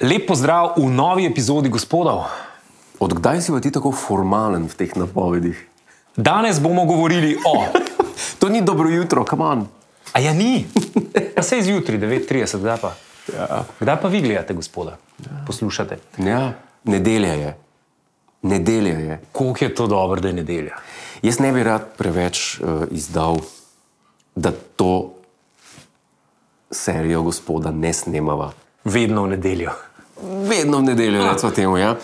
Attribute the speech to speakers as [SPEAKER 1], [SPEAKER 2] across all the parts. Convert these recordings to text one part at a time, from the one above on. [SPEAKER 1] Lep pozdrav v novi epizodi gospodov.
[SPEAKER 2] Odkdaj si pa ti tako formalen v teh napovedih?
[SPEAKER 1] Danes bomo govorili o.
[SPEAKER 2] To ni dobro jutro, kamen.
[SPEAKER 1] A ja, ni. Pa se je zjutraj, 9:30, kdaj pa?
[SPEAKER 2] Ja.
[SPEAKER 1] Kdaj pa vi gledate, gospoda? Poslušate.
[SPEAKER 2] ja, nedelja je. Nedelja je.
[SPEAKER 1] Koliko je to dobro, da je nedelja?
[SPEAKER 2] Jaz ne bi rad preveč uh, izdal, da to serijo gospoda ne snemava.
[SPEAKER 1] Vedno v nedeljo.
[SPEAKER 2] Vedno v nedeljo, recimo temu. Ja.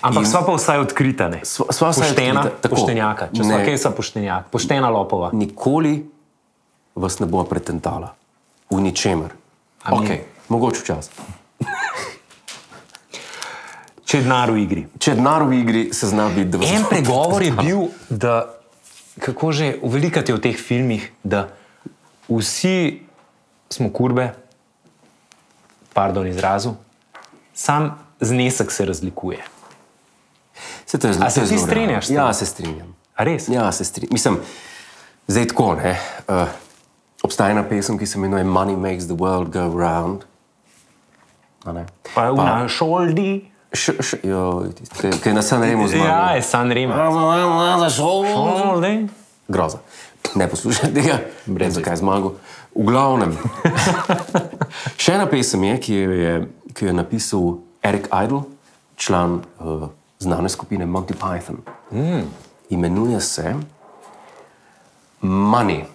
[SPEAKER 1] Ampak
[SPEAKER 2] In
[SPEAKER 1] sva pa vsaj odkrita, ne?
[SPEAKER 2] sva- sva vsaj
[SPEAKER 1] Poštena,
[SPEAKER 2] odkrita, tako.
[SPEAKER 1] poštenjaka, če smo
[SPEAKER 2] Ne.
[SPEAKER 1] kaj sa poštenjak, poštena lopova.
[SPEAKER 2] nikoli vas ne bo pretentala, v ničemer.
[SPEAKER 1] Amen.
[SPEAKER 2] Okay, mogoče včasih.
[SPEAKER 1] Če je denar v igri.
[SPEAKER 2] Če je denar v igri, se zna biti, da vas
[SPEAKER 1] En
[SPEAKER 2] bo
[SPEAKER 1] pregovor je bil, da kako že velikati v teh filmih, da vsi smo kurbe, pardon izrazu, sam znesek se razlikuje.
[SPEAKER 2] Se to je zelo
[SPEAKER 1] A se
[SPEAKER 2] to je
[SPEAKER 1] ti
[SPEAKER 2] zelo realno.
[SPEAKER 1] strinjaš s tem?
[SPEAKER 2] Ja, se strinjam.
[SPEAKER 1] A res?
[SPEAKER 2] Ja, se strinjam. Mislim, zdaj tako. Ne, uh, obstaja ena pesem, ki se imenuje Money Makes the World Go Round. A ne?
[SPEAKER 1] Pa v
[SPEAKER 2] Pa-
[SPEAKER 1] na šoldi.
[SPEAKER 2] Š- š- joj, tisti, Ki ki je na Sanremo
[SPEAKER 1] Ja,
[SPEAKER 2] zmagal.
[SPEAKER 1] je San Remo.
[SPEAKER 2] ja,
[SPEAKER 1] Šoldi.
[SPEAKER 2] Groza. Ne poslušaj tega, brez zakaj je zmagal. V glavnem. Še ena pesem je, ki jo je, ki jo je napisal Eric Idle, član uh, znane skupine Monty Python. Mm. Imenuje se Money in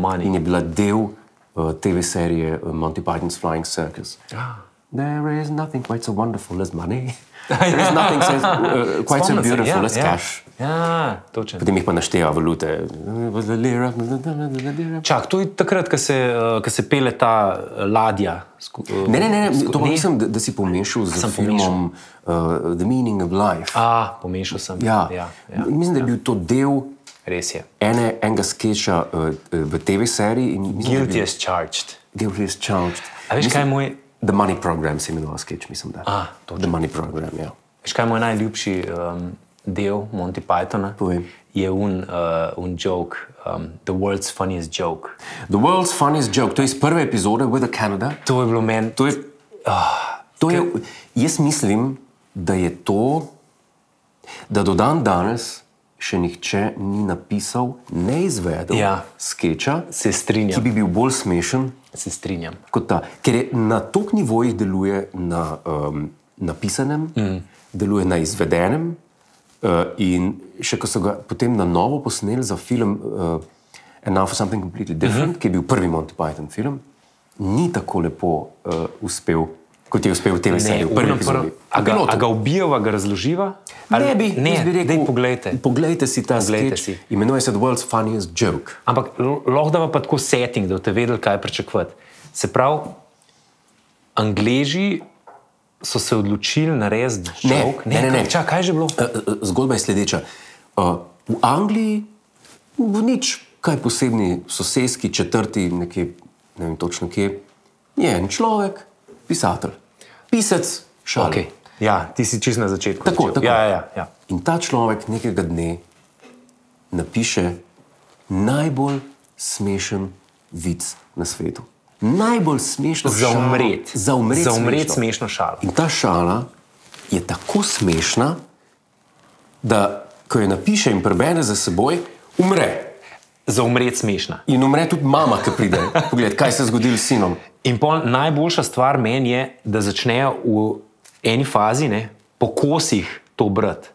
[SPEAKER 1] Mani.
[SPEAKER 2] je bila del uh, TV serije uh, Monty Python's Flying Circus.
[SPEAKER 1] Ah.
[SPEAKER 2] There is nothing quite so wonderful as money. There is nothing so, uh, quite so
[SPEAKER 1] Spomnim se,
[SPEAKER 2] beautiful
[SPEAKER 1] ja,
[SPEAKER 2] as
[SPEAKER 1] ja.
[SPEAKER 2] cash.
[SPEAKER 1] Ja, točno.
[SPEAKER 2] Potem jih pa našteva valute.
[SPEAKER 1] Čak, to je takrat, ko se, eh, ko se pele ta eh, ladja. sku- eh,
[SPEAKER 2] Ne, ne, ne, ne, to pa
[SPEAKER 1] Ne.
[SPEAKER 2] mislim, da, da si pomešal z
[SPEAKER 1] Sem
[SPEAKER 2] filmom uh, The Meaning of Life.
[SPEAKER 1] A, pomešal sem.
[SPEAKER 2] ja.
[SPEAKER 1] ja, ja.
[SPEAKER 2] mislim, da je bil to del
[SPEAKER 1] res je.
[SPEAKER 2] ene, enega sketcha uh, v TV-seriji. in mislim, da je
[SPEAKER 1] Guilty
[SPEAKER 2] bil-
[SPEAKER 1] as charged.
[SPEAKER 2] Guilty as Charged.
[SPEAKER 1] A veš, kaj je moj,
[SPEAKER 2] The Money Program se imenoval sketch, mislim, da.
[SPEAKER 1] A,
[SPEAKER 2] The Money Program, ja.
[SPEAKER 1] veš, kaj je moj najljubši um, del Monty Pythona?
[SPEAKER 2] Povej.
[SPEAKER 1] Je un, uh, un joke, um, the world's funniest joke.
[SPEAKER 2] The World's Funniest Joke, to je iz prve epizode With a Canada.
[SPEAKER 1] To je bilo meni.
[SPEAKER 2] To je, to je, jaz mislim, da je to, da do dan danes še nihče ni napisal, ne izvedel
[SPEAKER 1] Ja.
[SPEAKER 2] skeča,
[SPEAKER 1] Se
[SPEAKER 2] ki
[SPEAKER 1] strinjam.
[SPEAKER 2] bi bil bolj smešen
[SPEAKER 1] Se strinjam.
[SPEAKER 2] kot ta. Ker je na tok nivojih deluje na um, napisanem, mm. deluje na izvedenem. Uh, in še ko so ga potem na novo posneli za film uh, Enough for Something Completely
[SPEAKER 1] Mhm.
[SPEAKER 2] Different, mm -hmm. ki je bil prvi Monty Python film, ni tako lepo uh, uspel, kot je uspel v tem seriju.
[SPEAKER 1] ono
[SPEAKER 2] Prvi prvi.
[SPEAKER 1] a, ga, a ga ubijava, ga razloživa? Ali-
[SPEAKER 2] Ne bi,
[SPEAKER 1] ne
[SPEAKER 2] jaz bi rekel,
[SPEAKER 1] daj poglejte.
[SPEAKER 2] Poglejte si ta
[SPEAKER 1] Poglejte
[SPEAKER 2] sketch,
[SPEAKER 1] si.
[SPEAKER 2] Imenuje se The World's Funniest Joke.
[SPEAKER 1] Ampak l- lahko da pa tako setting, da boste vedeli, kaj pričakovati. Se pravi, Angleži so se odločili narediti
[SPEAKER 2] Ne,
[SPEAKER 1] žog.
[SPEAKER 2] ne, ne, ne.
[SPEAKER 1] Čak, kaj je že bilo?
[SPEAKER 2] Eh, eh, Zgodba je sledeča. Eh, V Angliji v nič kaj posebni sosedski četrti, nekje, ne vem točno kje, je en človek, pisatelj, pisec, šale.
[SPEAKER 1] Okay. Ja, ti si čist na začetku.
[SPEAKER 2] Tako,
[SPEAKER 1] začel.
[SPEAKER 2] tako.
[SPEAKER 1] Ja, ja, ja.
[SPEAKER 2] In ta človek nekega dne napiše najbolj smešen vic na svetu. Najbolj smešno
[SPEAKER 1] Za
[SPEAKER 2] šalo.
[SPEAKER 1] umret.
[SPEAKER 2] Za umret,
[SPEAKER 1] Za umret smešno
[SPEAKER 2] smešno.
[SPEAKER 1] šalo.
[SPEAKER 2] In ta šala je tako smešna, da ko jo napiše in prebere za seboj, umre.
[SPEAKER 1] Za umret smešna.
[SPEAKER 2] In umre tudi mama, ki pride. Poglej, kaj se je zgodilo s sinom.
[SPEAKER 1] In pol najboljša stvar meni je, da začnejo v eni fazi, ne, po kosih to brati.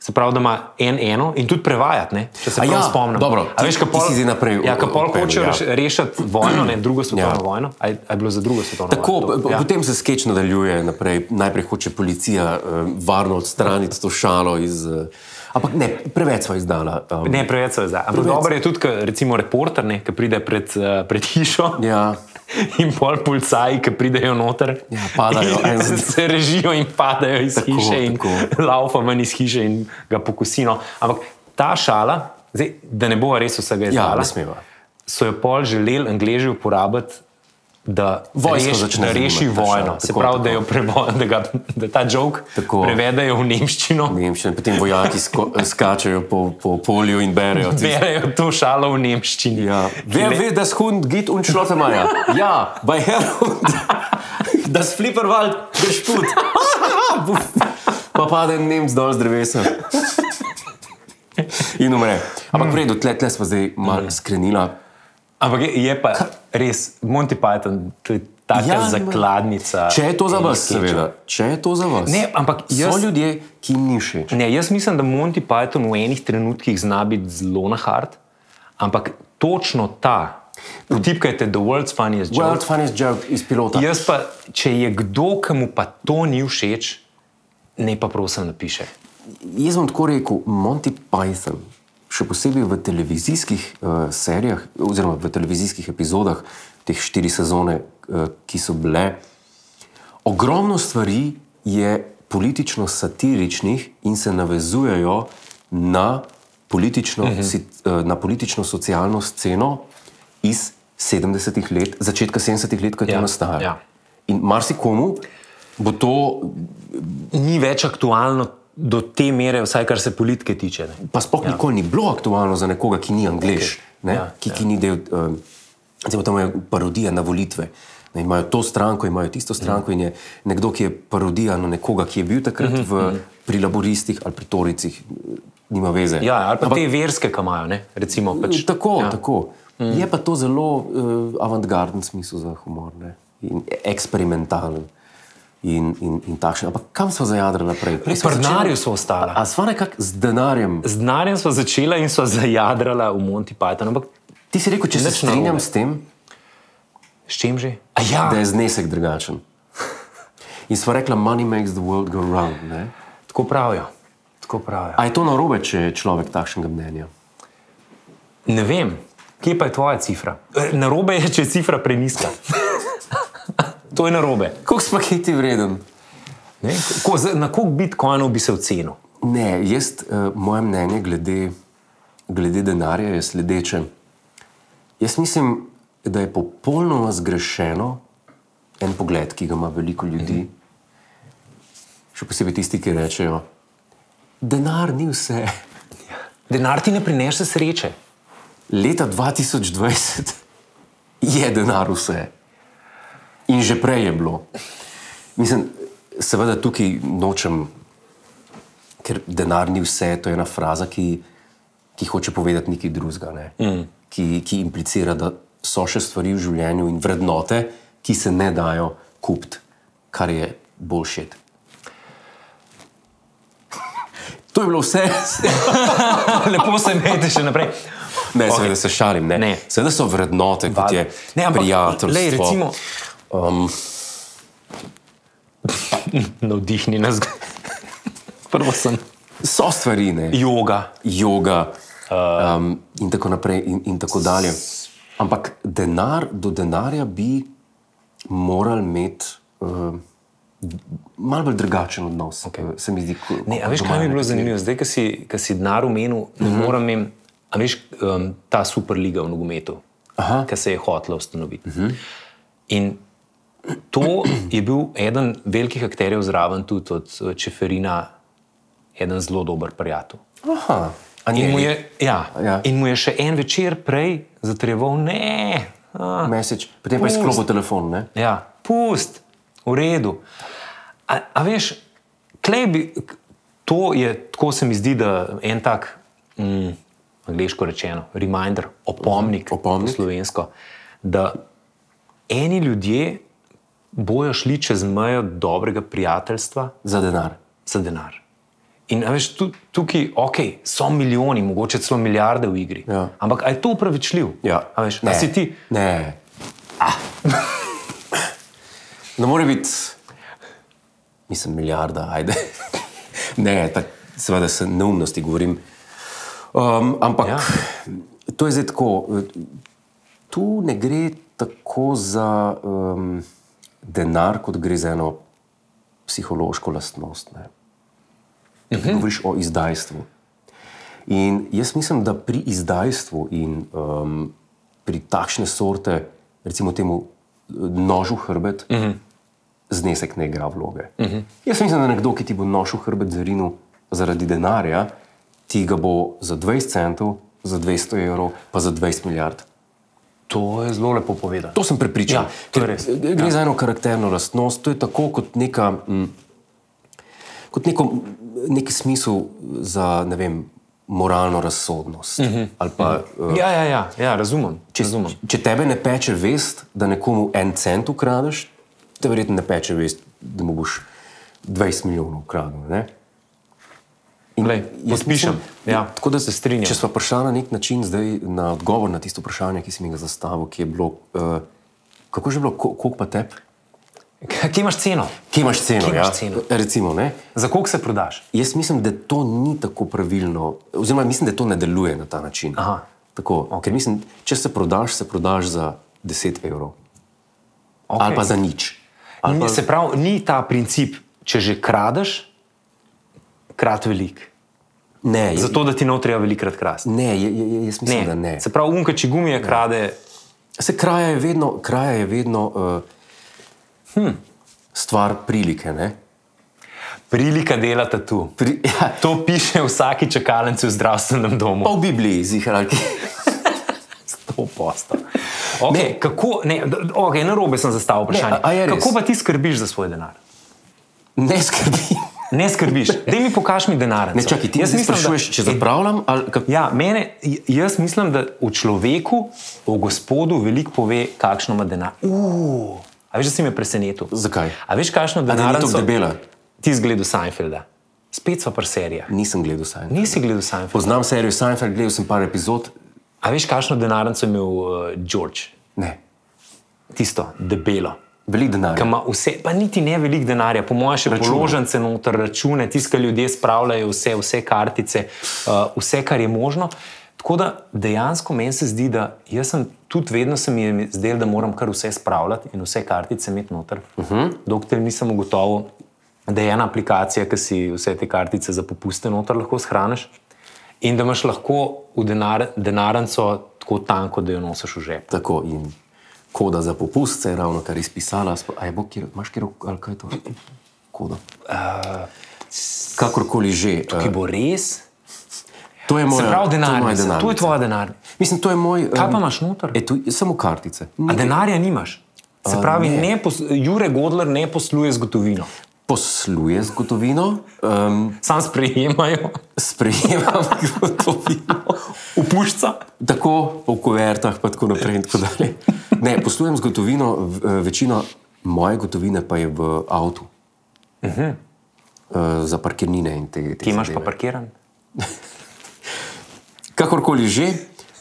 [SPEAKER 1] Se pravi, da ima en eno in tudi prevajati, ne, če se
[SPEAKER 2] A
[SPEAKER 1] prav
[SPEAKER 2] ja,
[SPEAKER 1] spomnim.
[SPEAKER 2] dobro,
[SPEAKER 1] A veš,
[SPEAKER 2] ti-
[SPEAKER 1] kako
[SPEAKER 2] ti si zdaj naprej
[SPEAKER 1] Ja, kako pol
[SPEAKER 2] odpeljal,
[SPEAKER 1] hočejo
[SPEAKER 2] ja.
[SPEAKER 1] ja. rešiti vojno, ne, drugo svetovno
[SPEAKER 2] Ja.
[SPEAKER 1] ja. vojno. A je, a je bilo za drugo svetovno
[SPEAKER 2] Tako,
[SPEAKER 1] vojno?
[SPEAKER 2] po-
[SPEAKER 1] to? ja.
[SPEAKER 2] Potem se sketch nadaljuje naprej. Najprej hoče policija eh, varno odstraniti to šalo iz. Eh, ampak ne, preveč smo izdala. Um,
[SPEAKER 1] Ne, preveč so zdaj. Ampak
[SPEAKER 2] Preveč.
[SPEAKER 1] dobro je tudi, ker recimo reporter, ne, ki pride pred, eh, pred hišo.
[SPEAKER 2] Ja,
[SPEAKER 1] In pol policaji, ki pridejo noter,
[SPEAKER 2] Ja, padajo en za
[SPEAKER 1] in se režijo in padajo iz
[SPEAKER 2] Tako,
[SPEAKER 1] tako, hiše, in
[SPEAKER 2] tako.
[SPEAKER 1] laufa ven iz hiše in ga pokosino. Ampak ta šala, zdaj, da ne bo res vsega
[SPEAKER 2] ja
[SPEAKER 1] izdala,
[SPEAKER 2] ne smeva.
[SPEAKER 1] so jo pol želeli angliži uporabiti da
[SPEAKER 2] Vojsko
[SPEAKER 1] reš,
[SPEAKER 2] začne
[SPEAKER 1] da reši
[SPEAKER 2] zanimati, ja,
[SPEAKER 1] vojno.
[SPEAKER 2] tako,
[SPEAKER 1] Se pravi, da,
[SPEAKER 2] tako.
[SPEAKER 1] jo prevo, da, ga, da ta žog
[SPEAKER 2] Tako.
[SPEAKER 1] prevedejo v nemščino,
[SPEAKER 2] Nemščine, potem vojaki sko, skačajo po, po polju in berejo. tisto.
[SPEAKER 1] berejo to šalo v nemščini.
[SPEAKER 2] Ja. Wer
[SPEAKER 1] Le-
[SPEAKER 2] will das Hund geht und Schlottermeier? Ja, bei Herrhund. Das Flipperwald, der Sput. Pa pade en Nemc dol z drevesa. In umre.
[SPEAKER 1] Mm.
[SPEAKER 2] Ampak v redu, tle, tle smo zdaj malo skrenila.
[SPEAKER 1] Ampak je, je pa res Monty Python, to je taka ja,
[SPEAKER 2] Ja, ma-
[SPEAKER 1] zakladnica.
[SPEAKER 2] Če je to za
[SPEAKER 1] enih
[SPEAKER 2] vas,
[SPEAKER 1] skečev.
[SPEAKER 2] seveda. Če je to za vas.
[SPEAKER 1] Ne, ampak
[SPEAKER 2] so
[SPEAKER 1] jaz-
[SPEAKER 2] ljudje, ki jim ni všeč.
[SPEAKER 1] Ne, jaz mislim, da Monty Python v enih trenutkih zna biti zelo nahard, ampak točno ta. Vtipkajte The World's Funniest Joke.
[SPEAKER 2] World Funniest Joke iz pilota.
[SPEAKER 1] Jaz pa, če je kdo, ki mu pa to ni všeč, ne pa prosim napiše.
[SPEAKER 2] Jaz bom tako rekel, Monty Python, še posebej v televizijskih uh, serijah, oziroma v televizijskih epizodah, teh štiri sezone, uh, ki so bile, ogromno stvari je politično satiričnih in se navezujejo na politično,
[SPEAKER 1] Mhm.
[SPEAKER 2] uh -huh. uh, na politično socialno sceno iz 70-ih let, začetka 70-ih let, ko je ja,
[SPEAKER 1] Ja,
[SPEAKER 2] to nastajalo.
[SPEAKER 1] ja.
[SPEAKER 2] In marsikomu bo to
[SPEAKER 1] Ni več aktualno do te mere, vsaj kar se politike tiče. Ne?
[SPEAKER 2] pa sploh ja. nikoli ni bilo aktualno za nekoga, ki ni angliš, okay. ja,
[SPEAKER 1] Ja,
[SPEAKER 2] ki, ja. ki ni del. Um, recimo, tam imajo parodije na volitve. Ne, imajo to stranko, imajo tisto
[SPEAKER 1] Mhm.
[SPEAKER 2] stranko, in je nekdo, ki je parodija na nekoga, ki je bil takrat mm
[SPEAKER 1] mhm.
[SPEAKER 2] -hmm. v, pri laboristih ali pri toricih, eh, nima veze.
[SPEAKER 1] Ja, ali pa Ampak, te verske, ki imajo. ne, Recimo, pač,
[SPEAKER 2] Tako, ja.
[SPEAKER 1] ja.
[SPEAKER 2] tako. Mm. Je pa to zelo uh, avantgarden smisel za humor ne? in eksperimentalen. In, in, in takšen. Ampak kam smo zajadrali naprej? Prej sva
[SPEAKER 1] Pri
[SPEAKER 2] začela-
[SPEAKER 1] denarju so ostala.
[SPEAKER 2] A sva nekako z denarjem
[SPEAKER 1] Z denarjem smo začela in smo zajadrala v Monty Python. Ampak
[SPEAKER 2] Ti si rekel, če se
[SPEAKER 1] Nič
[SPEAKER 2] strinjam
[SPEAKER 1] narobe.
[SPEAKER 2] s tem,
[SPEAKER 1] s čim že? A ja,
[SPEAKER 2] da je znesek drugačen. In sva rekla, money makes the world go round. Ne?
[SPEAKER 1] tako pravijo. Tako pravijo.
[SPEAKER 2] A je to narobe, če je človek takšnega mnenja?
[SPEAKER 1] Ne vem, kje pa je tvoja cifra. E, Narobe je, če je cifra preniska. to je narobe.
[SPEAKER 2] Koliko smo kiti vreden?
[SPEAKER 1] Ne? Ko, za- na koliko bitcoinov bi se ocenil?
[SPEAKER 2] Ne, jaz, uh, moje mnenje glede, glede denarja je sledeče. Jaz mislim, da je popolnoma zgrešeno en pogled, ki ga ima veliko ljudi, mm -hmm. še posebej tisti, ki rečejo, denar ni vse.
[SPEAKER 1] Denar ti ne prinese sreče.
[SPEAKER 2] leta 2020 je denar vse. In že prej je bilo. Mislim, seveda tukaj nočem, ker denar ni vse, to je ena fraza, ki, ki hoče povedati nekaj drugega, ne? mm. ki, ki implicira, da so še stvari v življenju in vrednote, ki se ne dajo kupiti, kar je boljšet. To je bilo vse.
[SPEAKER 1] Ja, Lepo se imejte še naprej.
[SPEAKER 2] Ne, okay. seveda se šalim. Ne. Ne.
[SPEAKER 1] Ne.
[SPEAKER 2] Seveda so vrednote, kot je
[SPEAKER 1] Ne, ampak,
[SPEAKER 2] prijateljstvo.
[SPEAKER 1] lej, recimo,
[SPEAKER 2] um,
[SPEAKER 1] navdihni nas. Prvo sem
[SPEAKER 2] so stvari, ne,
[SPEAKER 1] joga.
[SPEAKER 2] joga
[SPEAKER 1] Uh.
[SPEAKER 2] um, in tako naprej, in, in tako dalje. Ampak denar, do denarja bi moral imeti um, malo bolj drugačen odnos. Okay. Se mi zdi, ko,
[SPEAKER 1] Ne, a
[SPEAKER 2] kot
[SPEAKER 1] veš,
[SPEAKER 2] doma,
[SPEAKER 1] kaj mi je
[SPEAKER 2] ne.
[SPEAKER 1] bilo zanimivo? Zdaj, ki si, ko si denar omenil, ne morem jim, a veš, um, ta superliga v nogometu,
[SPEAKER 2] Aha.
[SPEAKER 1] ki se je hotela ustanoviti. Uh -huh. In to je bil eden velikih akterjev zraven, tudi od eh, Čeferina, eden zelo dober prijatelj.
[SPEAKER 2] Aha, a
[SPEAKER 1] In mu,
[SPEAKER 2] ne,
[SPEAKER 1] je, ja,
[SPEAKER 2] Ja.
[SPEAKER 1] ja. in mu je še en večer prej zatreboval, ne, a,
[SPEAKER 2] message, potem pa je sklopil telefon. Ne?
[SPEAKER 1] Ja, pust, v redu. A, a veš, klej bi, k- to je, tako se mi zdi, da en tak, mm, angliško rečeno, reminder, opomnik,
[SPEAKER 2] Opomnik.
[SPEAKER 1] po slovensko, da eni ljudje bojo šli čez mejo dobrega prijateljstva
[SPEAKER 2] Za denar.
[SPEAKER 1] za denar. In a veš, tu, tukaj okay, so milijoni, mogoče celo milijarde v igri.
[SPEAKER 2] Ja.
[SPEAKER 1] Ampak a je to upravičljivo?
[SPEAKER 2] Ja.
[SPEAKER 1] A veš, a si ti,
[SPEAKER 2] Ne. Ne more No, biti, mislim, milijarda, ajde. Ne, tak, seveda se neumnosti govorim. Um, ampak ja.
[SPEAKER 1] Ja.
[SPEAKER 2] to je zdaj tako. eh, Tu ne gre tako za um, denar, kot gre za eno psihološko lastnost. Ne? Mhm. Govoriš o izdajstvu. In jaz mislim, da uh, pri izdajstvu in um, pri takšne sorte, recimo temu nožu hrbet, uh
[SPEAKER 1] Mhm.
[SPEAKER 2] -huh. znesek ne igra vloge. Uh -huh. Jaz mislim, da nekdo, ki ti bo nožil hrbet zrinil zaradi denarja, ti ga bo za 20 centov, za 200 evrov, pa za 20 milijard.
[SPEAKER 1] To je zelo lepo povedano.
[SPEAKER 2] To sem prepričan.
[SPEAKER 1] Ja, to je res.
[SPEAKER 2] Ker Gre ja. za eno karakterno lastnost, to je tako kot neka. Mm, Kot neko, neki smisel za ne vem, moralno razsodnost. Uh
[SPEAKER 1] Mhm.
[SPEAKER 2] -huh. Ali pa, uh,
[SPEAKER 1] Ja, ja, ja, ja razumem.
[SPEAKER 2] Če,
[SPEAKER 1] razumem.
[SPEAKER 2] če tebe ne peče vest, da nekomu en cent ukradeš, te verjetno ne peče vest, da mu boš 20 milijonov ukradel. ne? In
[SPEAKER 1] Glej,
[SPEAKER 2] jaz
[SPEAKER 1] podpišem.
[SPEAKER 2] mislim,
[SPEAKER 1] Ja, tako da se strinjam.
[SPEAKER 2] Če smo prišli na nek način zdaj na odgovor na tisto vprašanje, ki si mi ga zastavil, ki je bilo, uh, kako je že bilo, ko- koliko pa tebe?
[SPEAKER 1] Kje imaš ceno?
[SPEAKER 2] Kje imaš ceno?
[SPEAKER 1] Kje imaš
[SPEAKER 2] ja?
[SPEAKER 1] ceno?
[SPEAKER 2] Recimo, ne?
[SPEAKER 1] Za koliko se prodaš?
[SPEAKER 2] Jaz mislim, da to ni tako pravilno, oziroma mislim, da to ne deluje na ta način.
[SPEAKER 1] Aha.
[SPEAKER 2] Tako, okay. Ker mislim, če se prodaš, se prodaš za 10 evrov
[SPEAKER 1] Okay.
[SPEAKER 2] okay. ali pa za nič. Ali
[SPEAKER 1] Pa...
[SPEAKER 2] pa,
[SPEAKER 1] Se pravi, ni ta princip, če že kradeš, krat velik.
[SPEAKER 2] ne, jaz,
[SPEAKER 1] Zato, da ti ne bo treba velikrat krasti.
[SPEAKER 2] ne, jaz, jaz mislim, ne. da ne.
[SPEAKER 1] Se pravi, unka če gumije krade,
[SPEAKER 2] Se kraja je vedno, kraja je vedno uh, hmm. Hm. stvar prilike. ne?
[SPEAKER 1] prilika dela tu.
[SPEAKER 2] Pri, ja,
[SPEAKER 1] To piše vsaki čakalenci v zdravstvenem domu.
[SPEAKER 2] Pa v Bibliji, zihralki. Sto posto.
[SPEAKER 1] Okay, ne. Kako, ne, okay, na robe sem zastavil vprašanje.
[SPEAKER 2] Ne, a- a je res?
[SPEAKER 1] kako pa ti skrbiš za svoj denar?
[SPEAKER 2] Ne skrbi.
[SPEAKER 1] Ne skrbiš, da mi pokaži mi denar.
[SPEAKER 2] Ne, čakaj, ti zdaj sprašuješ, če zapravljam ali kako.
[SPEAKER 1] Ja, mene, j- jaz mislim, da o človeku, o gospodu, veliko pove, kakšno ima denar. Uuu, a veš, da si me presenetil.
[SPEAKER 2] Zakaj?
[SPEAKER 1] A veš, kakšno
[SPEAKER 2] A da
[SPEAKER 1] denar
[SPEAKER 2] ni tako debela?
[SPEAKER 1] Ti si gledal Seinfelda, spet so pa serija.
[SPEAKER 2] Nisem gledal Seinfeld.
[SPEAKER 1] Nisi gledal Seinfelda.
[SPEAKER 2] Poznam serijo Seinfeld, gledal sem par epizod.
[SPEAKER 1] A veš, kakšno denarnico je imel uh, George,
[SPEAKER 2] Ne,
[SPEAKER 1] tisto debelo.
[SPEAKER 2] veliko denarja.
[SPEAKER 1] Ki ima vse, pa niti ne veliko denarja, po mojem, še
[SPEAKER 2] Račune.
[SPEAKER 1] položnice, noter račune, tiskaj ljudje spravljajo vse, vse kartice, uh, vse, kar je možno. Tako da dejansko meni se zdi, da jaz sem tudi vedno se mi je zdel, da moram kar vse spravljati in vse kartice imeti noter. Uh
[SPEAKER 2] Mhm.
[SPEAKER 1] -huh. Dokler nisem ugotovil, da je ena aplikacija, ki si vse te kartice za popuste noter lahko shraniš in da imaš lahko v denar, denarnico tako tanko, da jo nosiš v žep.
[SPEAKER 2] Tako in koda za popust se je ravno kar izpisala. Sp- A je bo, kjer, imaš kjer, ali kaj je to? Koda.
[SPEAKER 1] Eh,
[SPEAKER 2] Kakorkoli že.
[SPEAKER 1] Ki
[SPEAKER 2] eh,
[SPEAKER 1] bo res,
[SPEAKER 2] To je
[SPEAKER 1] se
[SPEAKER 2] moja
[SPEAKER 1] pravi, denarnica.
[SPEAKER 2] denar.
[SPEAKER 1] To je tvoja denarnica.
[SPEAKER 2] Mislim, to je moj.
[SPEAKER 1] Kaj
[SPEAKER 2] em,
[SPEAKER 1] pa imaš noter?
[SPEAKER 2] E, tu, samo kartice.
[SPEAKER 1] A denarja nimaš. Se
[SPEAKER 2] A,
[SPEAKER 1] pravi,
[SPEAKER 2] ne.
[SPEAKER 1] ne pos, Jure Godler ne posluje z gotovino,
[SPEAKER 2] Posluje z gotovino, um,
[SPEAKER 1] sam sprejemajo,
[SPEAKER 2] sprejemam gotovino.
[SPEAKER 1] upušča.
[SPEAKER 2] Tako po kuvertah, pa tako naprej. in Tako dalje. ne, poslujem z gotovino, v- eh, večina moje gotovine pa je v avtu. Uh -huh. Za parkirnine in te. te
[SPEAKER 1] Ti Mhm. imaš pa
[SPEAKER 2] zadeve.
[SPEAKER 1] parkiran.
[SPEAKER 2] Kakorkoli že,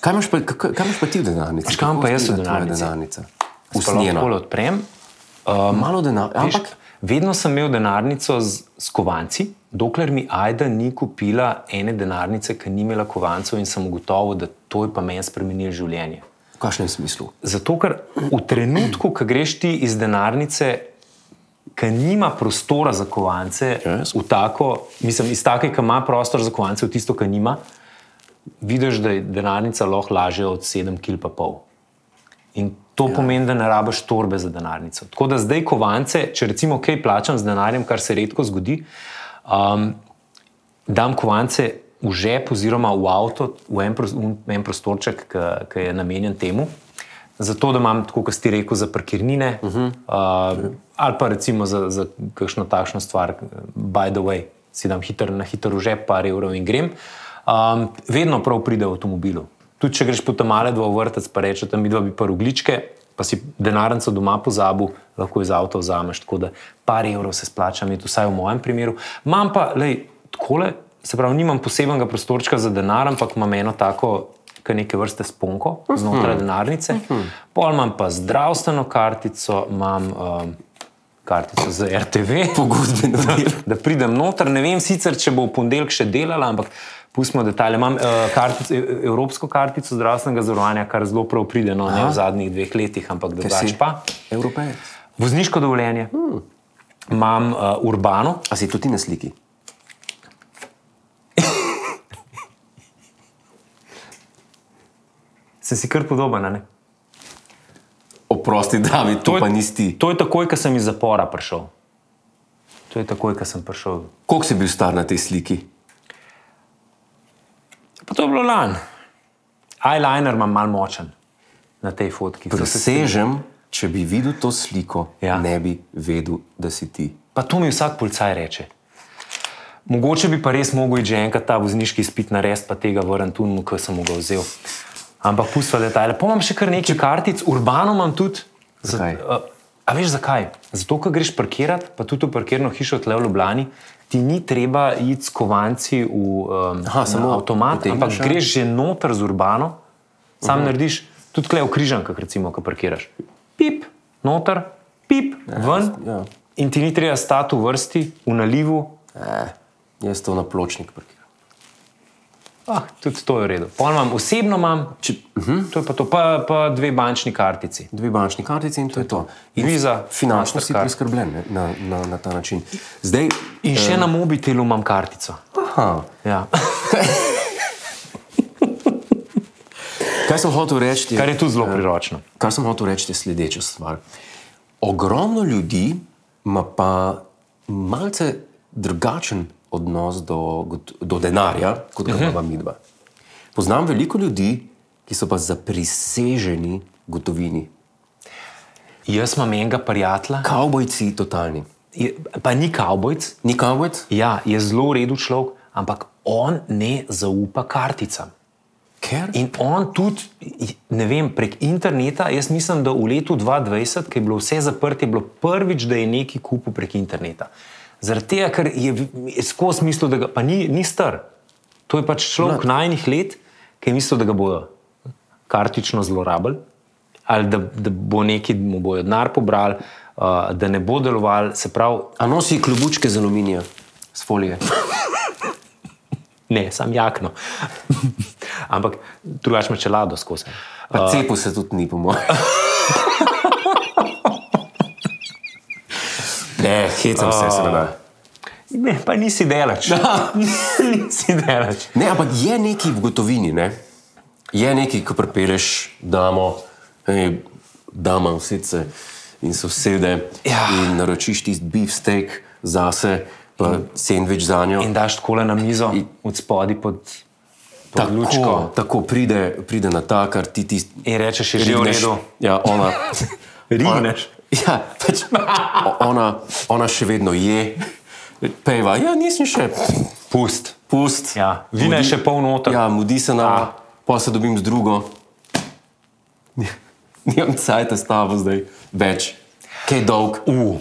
[SPEAKER 2] kaj imaš pa, kaj, kaj imaš pa ti v denarnici?
[SPEAKER 1] Veš, kam
[SPEAKER 2] Kako
[SPEAKER 1] pa jaz v
[SPEAKER 2] izgleda tvoja
[SPEAKER 1] denarnici?
[SPEAKER 2] denarnica?
[SPEAKER 1] Sploh
[SPEAKER 2] Usnjena.
[SPEAKER 1] lahko odprem.
[SPEAKER 2] Malo denarja, ampak
[SPEAKER 1] Ampak vedno sem imel denarnico z, s kovanci, dokler mi Aida ni kupila ene denarnice, ki ni imela kovancev in sem ugotovil, da to je pa meni spremenilo življenje.
[SPEAKER 2] v kakšnem smislu?
[SPEAKER 1] Zato, ker v trenutku, ko greš ti iz denarnice, ki nima prostora za kovance,
[SPEAKER 2] Res?
[SPEAKER 1] v tako, mislim, iz take, ki ima prostor za kovance, v tisto, ki nima, vidiš, da je denarnica lahko lažje od 7 kg pa pol. In to ja. pomeni, da ne rabiš torbe za denarnico. Tako da zdaj kovance, če recimo kaj plačam z denarjem, kar se redko zgodi, um, dam kovance v žep oziroma v avto, v en, pros- v en prostorček, ki je namenjen temu. Zato, da imam, tako kot si rekel, za parkirnine uh -huh. uh, ali pa recimo za, za kakšno takšno stvar, by the way, si dam hiter, na hitro v žep, par evrov in grem. Um, vedno prav pride v avtomobilu. Tudi če greš po tam male dva v vrtec, pa rečeš, da mi dva bi pa rugličke, pa si denarnico doma pozabil, lahko iz avta vzameš. Tako da par evrov se splača, imeti, vsaj v mojem primeru. Imam pa, lej, takole, se pravi, nimam posebnega prostorčka za denar, ampak imam eno tako, ki je neke vrste sponko znotraj denarnice. Pol imam pa zdravstveno kartico, imam um, kartico za RTV.
[SPEAKER 2] Pogodbeno delo.
[SPEAKER 1] Da pridem noter, ne vem sicer, če bo v ponedeljek še delala, ampak pustimo detajle. Imam uh, kartico, e- evropsko kartico zdravstvenega zavarovanja, kar zelo prav pride, no, ne v zadnjih dveh letih, ampak drugače
[SPEAKER 2] si- Hmm.
[SPEAKER 1] pa.
[SPEAKER 2] Evropejec.
[SPEAKER 1] Vozniško dovoljenje, imam uh, urbano,
[SPEAKER 2] A si tudi ti na sliki?
[SPEAKER 1] sem si kar podoben, a ne?
[SPEAKER 2] Ob oprosti, da mi to
[SPEAKER 1] je-
[SPEAKER 2] pa nisi.
[SPEAKER 1] To je takoj, ko sem iz zapora prišel. To je takoj, ko sem prišel.
[SPEAKER 2] Koliko si bil star na tej sliki?
[SPEAKER 1] Pa to je bilo lani. Eyeliner imam mal močen na tej fotki. So se-
[SPEAKER 2] Presežem, če bi videl to sliko,
[SPEAKER 1] Ja.
[SPEAKER 2] ja. ne bi vedel, da si ti.
[SPEAKER 1] Pa to mi vsak policaj reče. Mogoče bi pa res mogel iti že enkrat ta vozniški izpit na res, pa tega v Rantunu, ki sem mu ga vzel. Ampak pustva detajle. Pa imam še kar nekaj kartic, urbano imam tudi. Za-
[SPEAKER 2] Zakaj?
[SPEAKER 1] a, a veš zakaj? Zato, ker greš parkirati, pa tudi v parkirno hišo tle v Ljubljani, ti ni treba iti s kovanci v um,
[SPEAKER 2] Aha, samo
[SPEAKER 1] avtomat,
[SPEAKER 2] potegneš,
[SPEAKER 1] ampak
[SPEAKER 2] ja.
[SPEAKER 1] greš že noter z urbano, sam uh -huh. narediš tudi klej v križankah, recimo, ko parkiraš. Pip, noter, pip, ja, ven.
[SPEAKER 2] ja.
[SPEAKER 1] In ti ni treba stati v vrsti, v nalivu.
[SPEAKER 2] Eh, jaz to na pločnik parkiram.
[SPEAKER 1] Ah, tudi to je v redu. Pol imam osebno, imam,
[SPEAKER 2] Če,
[SPEAKER 1] to je pa to, pa, pa dve bančni kartici.
[SPEAKER 2] dve bančni kartici in to je to. In
[SPEAKER 1] Visa,
[SPEAKER 2] finančno si
[SPEAKER 1] Mastercard.
[SPEAKER 2] priskrbljen ne, na, na, na ta način. Zdaj,
[SPEAKER 1] In še na mobitelu imam kartico.
[SPEAKER 2] aha,
[SPEAKER 1] Ja.
[SPEAKER 2] kaj sem hotel reči? je-
[SPEAKER 1] Kar je tudi zelo priročno.
[SPEAKER 2] Kar sem hotel reči, je sledeča stvar. Ogromno ljudi ima pa malce drugačen odnos do, got- do denarja, kot ga imamo mi dva. Poznam veliko ljudi, ki so pa zapriseženi gotovini.
[SPEAKER 1] Jaz imam enega prijatelja,
[SPEAKER 2] Kavbojci, totalni.
[SPEAKER 1] je, pa ni kavbojc,
[SPEAKER 2] Ni kavbojc?
[SPEAKER 1] ja, je zelo v redu človek, ampak on ne zaupa karticam.
[SPEAKER 2] Ker?
[SPEAKER 1] In on tudi, ne vem, prek interneta, jaz mislim, da v letu 2020, ki je bilo vse zaprto, je bilo prvič, da je neki kupil prek interneta. Zaradi tega, ker je, v- je skozi mislil, da ga pa ni, ni star. To je pač človek najnih let, ki je mislil, da ga bodo kartično zlorabili, ali da, da bo neki mu bojo denar pobrali, uh, da ne bo deloval, se pravi,
[SPEAKER 2] A nosi klobučke z aluminija, s folije.
[SPEAKER 1] ne, sam jakno. Ampak drugače me čelado skozi.
[SPEAKER 2] Pa cepu se tudi ni, po mojem. Ne, hecam se, seveda.
[SPEAKER 1] Ne, pa nisi delač. nisi delač.
[SPEAKER 2] Ne, ampak je nekaj v gotovini, ne? je nekaj, ko prepeleš, damo, hej, damo vsice in sosede.
[SPEAKER 1] Ja.
[SPEAKER 2] In naročiš tisti beefsteak zase, pa sendvič za njo.
[SPEAKER 1] In daš takole na mizo, od spodaj pod, pod lučko.
[SPEAKER 2] Tako, tako pride, pride na ta, kar ti ti
[SPEAKER 1] In rečeš, je že v redu.
[SPEAKER 2] Ja, ona.
[SPEAKER 1] Rigneš.
[SPEAKER 2] Ja, pač, o- ona, ona še vedno je, peva. Ja, nisem še. Pust. Pust.
[SPEAKER 1] Ja, vina je
[SPEAKER 2] Mudi-
[SPEAKER 1] še pol noter.
[SPEAKER 2] Ja, mudi
[SPEAKER 1] Ja.
[SPEAKER 2] se na, pa se dobim z drugo. Nimam cajt s tabo zdaj več. Kaj je dolg?
[SPEAKER 1] U.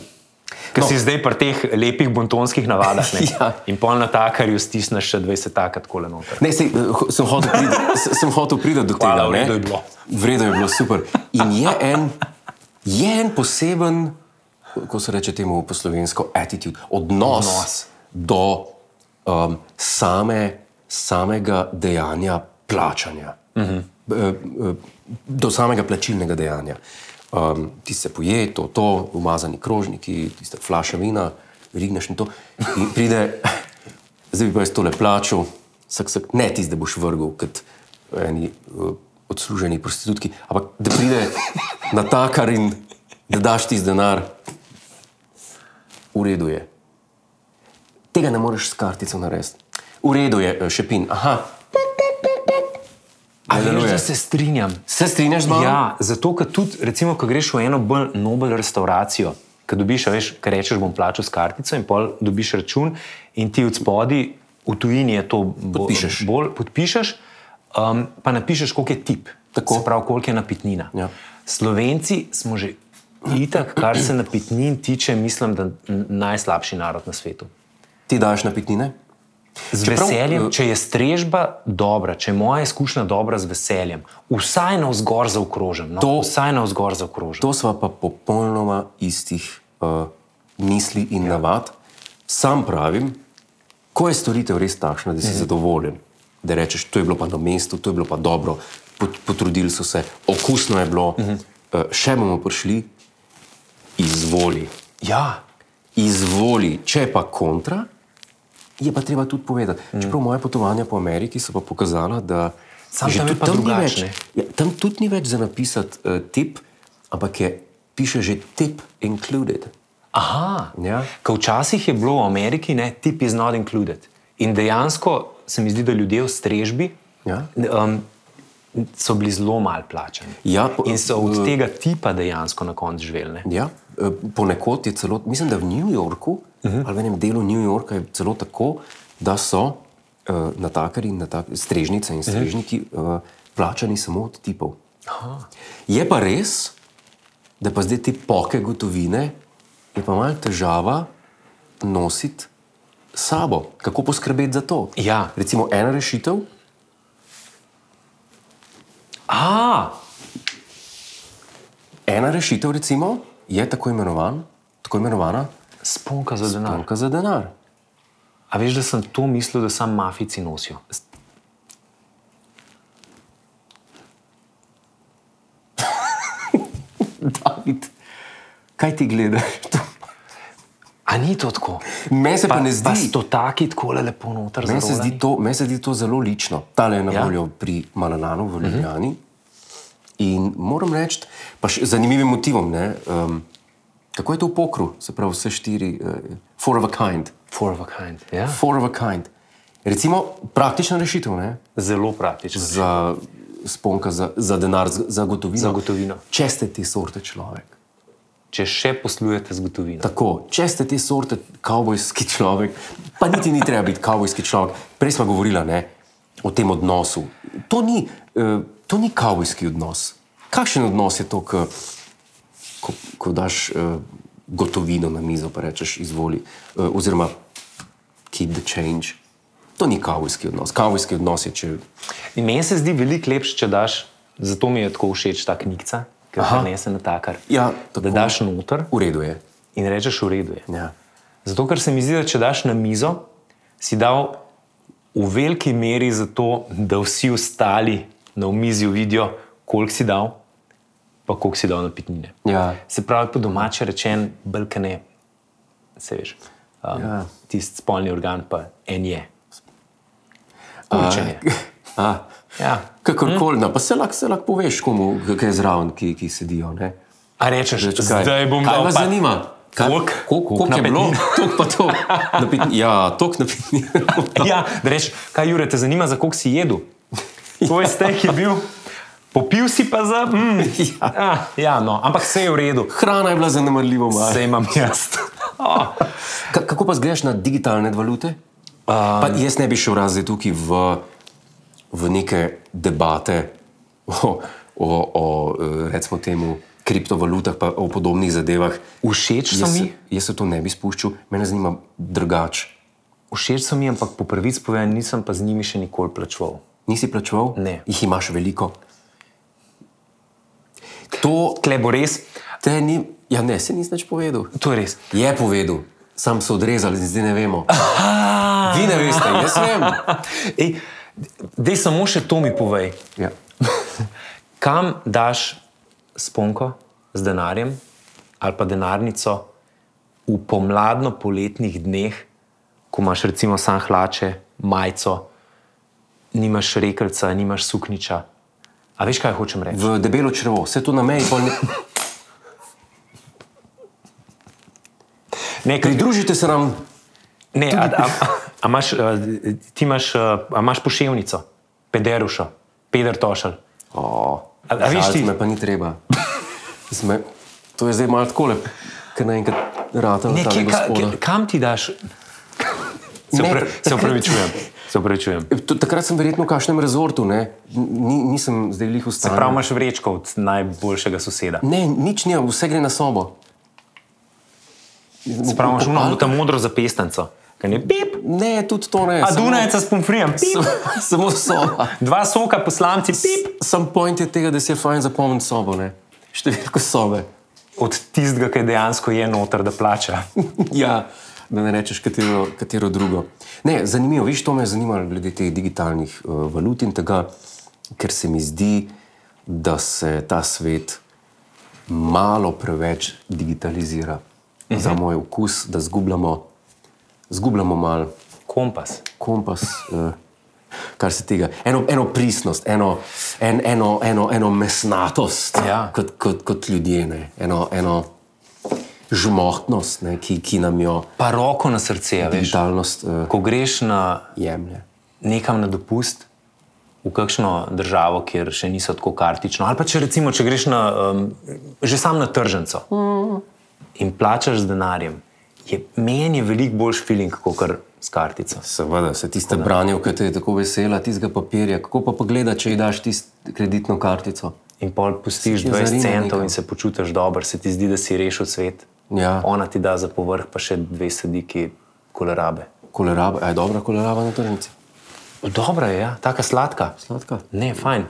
[SPEAKER 1] Ker
[SPEAKER 2] No.
[SPEAKER 1] no. si zdaj pri teh lepih bontonskih navadah. Ne?
[SPEAKER 2] Ja.
[SPEAKER 1] In pol na takarju stisneš še 20 takrat kole noter.
[SPEAKER 2] Ne, sej, eh, ho- sem hotel priti, s- sem hotel priti do
[SPEAKER 1] Hvala, v redu
[SPEAKER 2] tega. ne.
[SPEAKER 1] je bilo.
[SPEAKER 2] V redu je bilo super. In je en, je en poseben, kako se reče temu po slovensko, attitude,
[SPEAKER 1] Odnos.
[SPEAKER 2] odnos, odnos. do um, same, samega dejanja plačanja. Uh -huh. Do samega plačilnega dejanja. Um, ti se poje, to, to, umazani krožniki, tiste flaše vina, rigneš in to. In pride, zdaj bi pa jaz tole plačal, sak, sak, ne tisti, da boš vrgel kot eni uh, odsluženi prostitutki, ampak da pride na takar in da daš tisti denar, v redu je tega ne moreš s kartico narediti. V redu je, eh, še pin. Aha,
[SPEAKER 1] A veš,
[SPEAKER 2] deluje.
[SPEAKER 1] da se strinjam.
[SPEAKER 2] se strinjaš z mano?
[SPEAKER 1] Ja, zato, ker tudi, recimo, ko greš v eno bolj nobel restauracijo, ki dobiš, a veš, kaj rečeš, bom plačal s kartico, in pol dobiš račun, in ti od spodaj, v tujini je to bo-
[SPEAKER 2] Podpišeš.
[SPEAKER 1] bolj, podpišeš, um, pa napišeš, koliko je tip,
[SPEAKER 2] Tako.
[SPEAKER 1] se pravi, koliko je napitnina.
[SPEAKER 2] Ja.
[SPEAKER 1] Slovenci smo že itak, kar se napitnin tiče, mislim, da n- najslabši narod na svetu.
[SPEAKER 2] Ti daš napitnine?
[SPEAKER 1] Z
[SPEAKER 2] Čeprav,
[SPEAKER 1] veseljem,
[SPEAKER 2] eh,
[SPEAKER 1] če je strežba dobra, če je moja izkušnja dobra z veseljem, vsaj na vzgor zaokrožen. No?
[SPEAKER 2] To-
[SPEAKER 1] Vsaj na vzgor zaokrožen.
[SPEAKER 2] To sva pa popolnoma istih uh, misli in ja. navad. Sam pravim, ko je storitev res takšna, da si mhm. zadovoljen, da rečeš, to je bilo pa na mestu, to je bilo pa dobro, pot, potrudili so se, okusno je bilo, mhm. uh, še bomo prišli, izvoli.
[SPEAKER 1] Ja,
[SPEAKER 2] izvoli, če je pa kontra, je pa treba tudi povedati. Mm. Čeprav moje potovanja po Ameriki so pa pokazala, da
[SPEAKER 1] Samo
[SPEAKER 2] že
[SPEAKER 1] tam je
[SPEAKER 2] tudi
[SPEAKER 1] pa
[SPEAKER 2] tam ni
[SPEAKER 1] drugače,
[SPEAKER 2] več.
[SPEAKER 1] ne?
[SPEAKER 2] Ja, tam tudi ni več za napisati uh, tip, ampak je, piše že tip included.
[SPEAKER 1] Aha.
[SPEAKER 2] Ja.
[SPEAKER 1] Ker včasih je bilo v Ameriki, ne, tip is not included. In dejansko se mi zdi, da ljudje v strežbi
[SPEAKER 2] Ja.
[SPEAKER 1] um, so bili zelo malo plačani.
[SPEAKER 2] Ja, po-
[SPEAKER 1] In so od tega tipa dejansko na koncu živeli. ne.
[SPEAKER 2] Ja, eh, ponekod je celo, mislim, da v New Yorku uh -huh. ali v enem delu New Yorka je celo tako, da so uh, natakari, natak, strežnice in strežniki uh, plačani samo od tipov. Aha. Je pa res, da pa zdaj te poke gotovine je pa malo težava nositi s sabo. Kako poskrbeti za to?
[SPEAKER 1] Ja.
[SPEAKER 2] Recimo ena rešitev,
[SPEAKER 1] A,
[SPEAKER 2] ena rešitev recimo, je tako, imenovan, tako imenovana
[SPEAKER 1] sponka za denar.
[SPEAKER 2] banka za denar.
[SPEAKER 1] A veš, da sem to mislil, da samo mafici nosijo.
[SPEAKER 2] David, kaj ti gledaš?
[SPEAKER 1] A ni to tako?
[SPEAKER 2] Meni se pa, pa ne
[SPEAKER 1] Pa
[SPEAKER 2] zdi.
[SPEAKER 1] sto taki tako lepo noter.
[SPEAKER 2] Meni se,
[SPEAKER 1] zarolani.
[SPEAKER 2] zdi to, meni se zdi to zelo lično. Tale je na
[SPEAKER 1] Ja.
[SPEAKER 2] ja. voljo pri Malalanu v Ljubljani. Uh -huh. In moram reči, pa še z zanimivim motivom, ne, um, kako je to v pokru, se pravi vse štiri, uh, four of a kind.
[SPEAKER 1] Four of a kind. Ja?
[SPEAKER 2] Four of a kind. Recimo praktična rešitev ne,
[SPEAKER 1] Zelo praktično.
[SPEAKER 2] za sponka, za, za denar, z- za gotovino.
[SPEAKER 1] Za gotovino.
[SPEAKER 2] Če ste te sorte človek.
[SPEAKER 1] Če še poslujete z gotovino.
[SPEAKER 2] Tako, če ste te sorte kavbojski človek, pa niti ni treba biti kavbojski človek. Prej smo govorili ne, o tem odnosu. To ni, uh, to ni kavbojski odnos. Kakšen odnos je to, ko, ko, ko daš uh, gotovino na mizo in rečeš: izvoli, uh, oziroma keep the change. To ni kavbojski odnos. Kavbojski odnos je, če
[SPEAKER 1] In meni se zdi veliko lepše, če daš, zato mi je tako všeč ta knjiga, ki jo
[SPEAKER 2] Aha.
[SPEAKER 1] prenese na takar.
[SPEAKER 2] ja,
[SPEAKER 1] Da daš noter
[SPEAKER 2] v redu je.
[SPEAKER 1] in rečeš, v redu je.
[SPEAKER 2] Ja.
[SPEAKER 1] Zato, ker se mi zdi, da če daš na mizo, si dal v veliki meri za to, da vsi ostali na omizju vidijo, koliko si dal, pa koliko si dal na pitnine.
[SPEAKER 2] Ja.
[SPEAKER 1] Se pravi, po domače rečen, brkane, se veš, um, ja.
[SPEAKER 2] Ja.
[SPEAKER 1] tisti spolni organ pa en je. Učenje.
[SPEAKER 2] A,
[SPEAKER 1] Ja.
[SPEAKER 2] Kakorkoli, mm. pa se lahko se lahko poveš komu, ki je zraven, ki, ki sedijo. Ne?
[SPEAKER 1] A rečeš,
[SPEAKER 2] Reč,
[SPEAKER 1] da zdaj bom
[SPEAKER 2] kaj
[SPEAKER 1] dal
[SPEAKER 2] vas
[SPEAKER 1] pa-
[SPEAKER 2] zanima? Kaj-
[SPEAKER 1] Koliko?
[SPEAKER 2] koliko- Koliko je
[SPEAKER 1] Koliko
[SPEAKER 2] bilo?
[SPEAKER 1] napetnin?
[SPEAKER 2] Tok pa to. Napetni, ja, tok napetni.
[SPEAKER 1] Ja, da rečeš, kaj Jure, te zanima, za koliko si jedel? Tvoj stek je bil, popil si pa za. Mm.
[SPEAKER 2] ja.
[SPEAKER 1] Ah, ja, no, ampak vse je v redu,
[SPEAKER 2] Hrana je bila zanemarljivo malo.
[SPEAKER 1] vse imam jaz. Oh.
[SPEAKER 2] Ka- Kako pa zgledaš na digitalne valute? Um, jaz ne bi šel razen tukaj v, v neke debate o, o, o eh, recimo temu, kriptovalutah in o podobnih zadevah.
[SPEAKER 1] Všeč so
[SPEAKER 2] Jaz,
[SPEAKER 1] mi,
[SPEAKER 2] se- jaz se to ne bi spuščal, mene zanima drugače.
[SPEAKER 1] všeč so mi, ampak po prvici povem, nisem pa z njimi še nikoli plačal.
[SPEAKER 2] Nisi plačal?
[SPEAKER 1] Ne.
[SPEAKER 2] Jih imaš veliko. To
[SPEAKER 1] Tle bo res,
[SPEAKER 2] te ni. Ja, ne, se nisi več povedal.
[SPEAKER 1] to je res.
[SPEAKER 2] Je povedal, sam so odrezali, zdaj ne vemo. Vi ne veste, jaz vem.
[SPEAKER 1] Ej, Dej samo še to mi povej.
[SPEAKER 2] Ja.
[SPEAKER 1] Kam daš sponko z denarjem ali pa denarnico v pomladno-poletnih dneh, ko imaš recimo sam hlače, majico, nimaš rekelca, nimaš sukniča. A veš, kaj hočem reči?
[SPEAKER 2] V debelo črvo, vse to na meji. pol Ne...
[SPEAKER 1] Ne, kaj,
[SPEAKER 2] Pridružite se nam,
[SPEAKER 1] ne, a, a, a, a imaš, a, ti imaš, a, a imaš poševnico, pederušo, peder tošel.
[SPEAKER 2] oh,
[SPEAKER 1] A- a viš ti?
[SPEAKER 2] me pa ni treba. Sme... To je zdaj malo tako lepo, ker naenkrat rata na
[SPEAKER 1] Ne, kje,
[SPEAKER 2] tega
[SPEAKER 1] ka,
[SPEAKER 2] gospoda.
[SPEAKER 1] kje, kam ti daš? Se
[SPEAKER 2] Ne,
[SPEAKER 1] upra- se
[SPEAKER 2] takrat-
[SPEAKER 1] upravičujem. Se upravičujem.
[SPEAKER 2] To- Takrat sem verjetno v kažem rezortu, ne? Ni, nisem zdaj lih ustavil.
[SPEAKER 1] Prav imaš vrečko od najboljšega soseda.
[SPEAKER 2] Ne, nič ni, vse gre na sobo.
[SPEAKER 1] Prav imaš uno, ta modro zapestanco. kaj Ne, pip,
[SPEAKER 2] Ne, tudi to ne.
[SPEAKER 1] a
[SPEAKER 2] samo-
[SPEAKER 1] Dunajca s pomfrijem, pip,
[SPEAKER 2] Samo, samo soba.
[SPEAKER 1] dva soka poslanci, pip.
[SPEAKER 2] Sam point je tega, da si je fajn zapomniti sobo, ne? številko sobe.
[SPEAKER 1] Od tistega, ki dejansko je noter, da plača.
[SPEAKER 2] ja, da ne rečeš katero, katero drugo. Ne, zanimivo, viš, to me je zanimalo glede teh digitalnih uh, valut in tega, ker se mi zdi, da se ta svet malo preveč digitalizira. Uh -huh. Za moj okus, da zgubljamo, zgubljamo malo
[SPEAKER 1] Kompas.
[SPEAKER 2] kompas. Uh, kar se tega, eno, eno pristnost, eno, en, eno, eno, eno mesnatost
[SPEAKER 1] Ja.
[SPEAKER 2] kot, kot, kot ljudje, ne? eno, eno žmohtnost, ne? Ki, ki nam jo
[SPEAKER 1] Pa roko na srce, a veš.
[SPEAKER 2] digitalnost uh,
[SPEAKER 1] Ko greš na
[SPEAKER 2] jemlje.
[SPEAKER 1] nekam na dopust, v kakšno državo, kjer še niso tako kartično, ali pa če recimo, če greš na, um, že sam na tržnico in plačaš z denarjem, je meni je veliko boljš feeling, kot kar s kartico.
[SPEAKER 2] Seveda, se tiste branje, ki te je tako vesela, tistega papirja. Kako pa pogleda, če ji daš tisto kreditno kartico?
[SPEAKER 1] In pol pustiš
[SPEAKER 2] Se ti
[SPEAKER 1] 20
[SPEAKER 2] zarine
[SPEAKER 1] centov
[SPEAKER 2] nekam.
[SPEAKER 1] in se počutiš dobro, se ti zdi, da si rešil svet.
[SPEAKER 2] Ja.
[SPEAKER 1] Ona ti da za povrh pa še dve sadiki kolerabe.
[SPEAKER 2] Koleraba, a je dobra koleraba na tržnici?
[SPEAKER 1] Dobra je, ja. taka sladka.
[SPEAKER 2] Sladka.
[SPEAKER 1] Ne, fajn.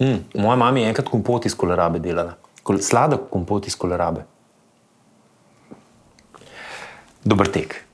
[SPEAKER 1] Mm, moja mama je enkrat kompot iz kolerabe delala. Kol Sladek kompot iz kolerabe. Dober tek.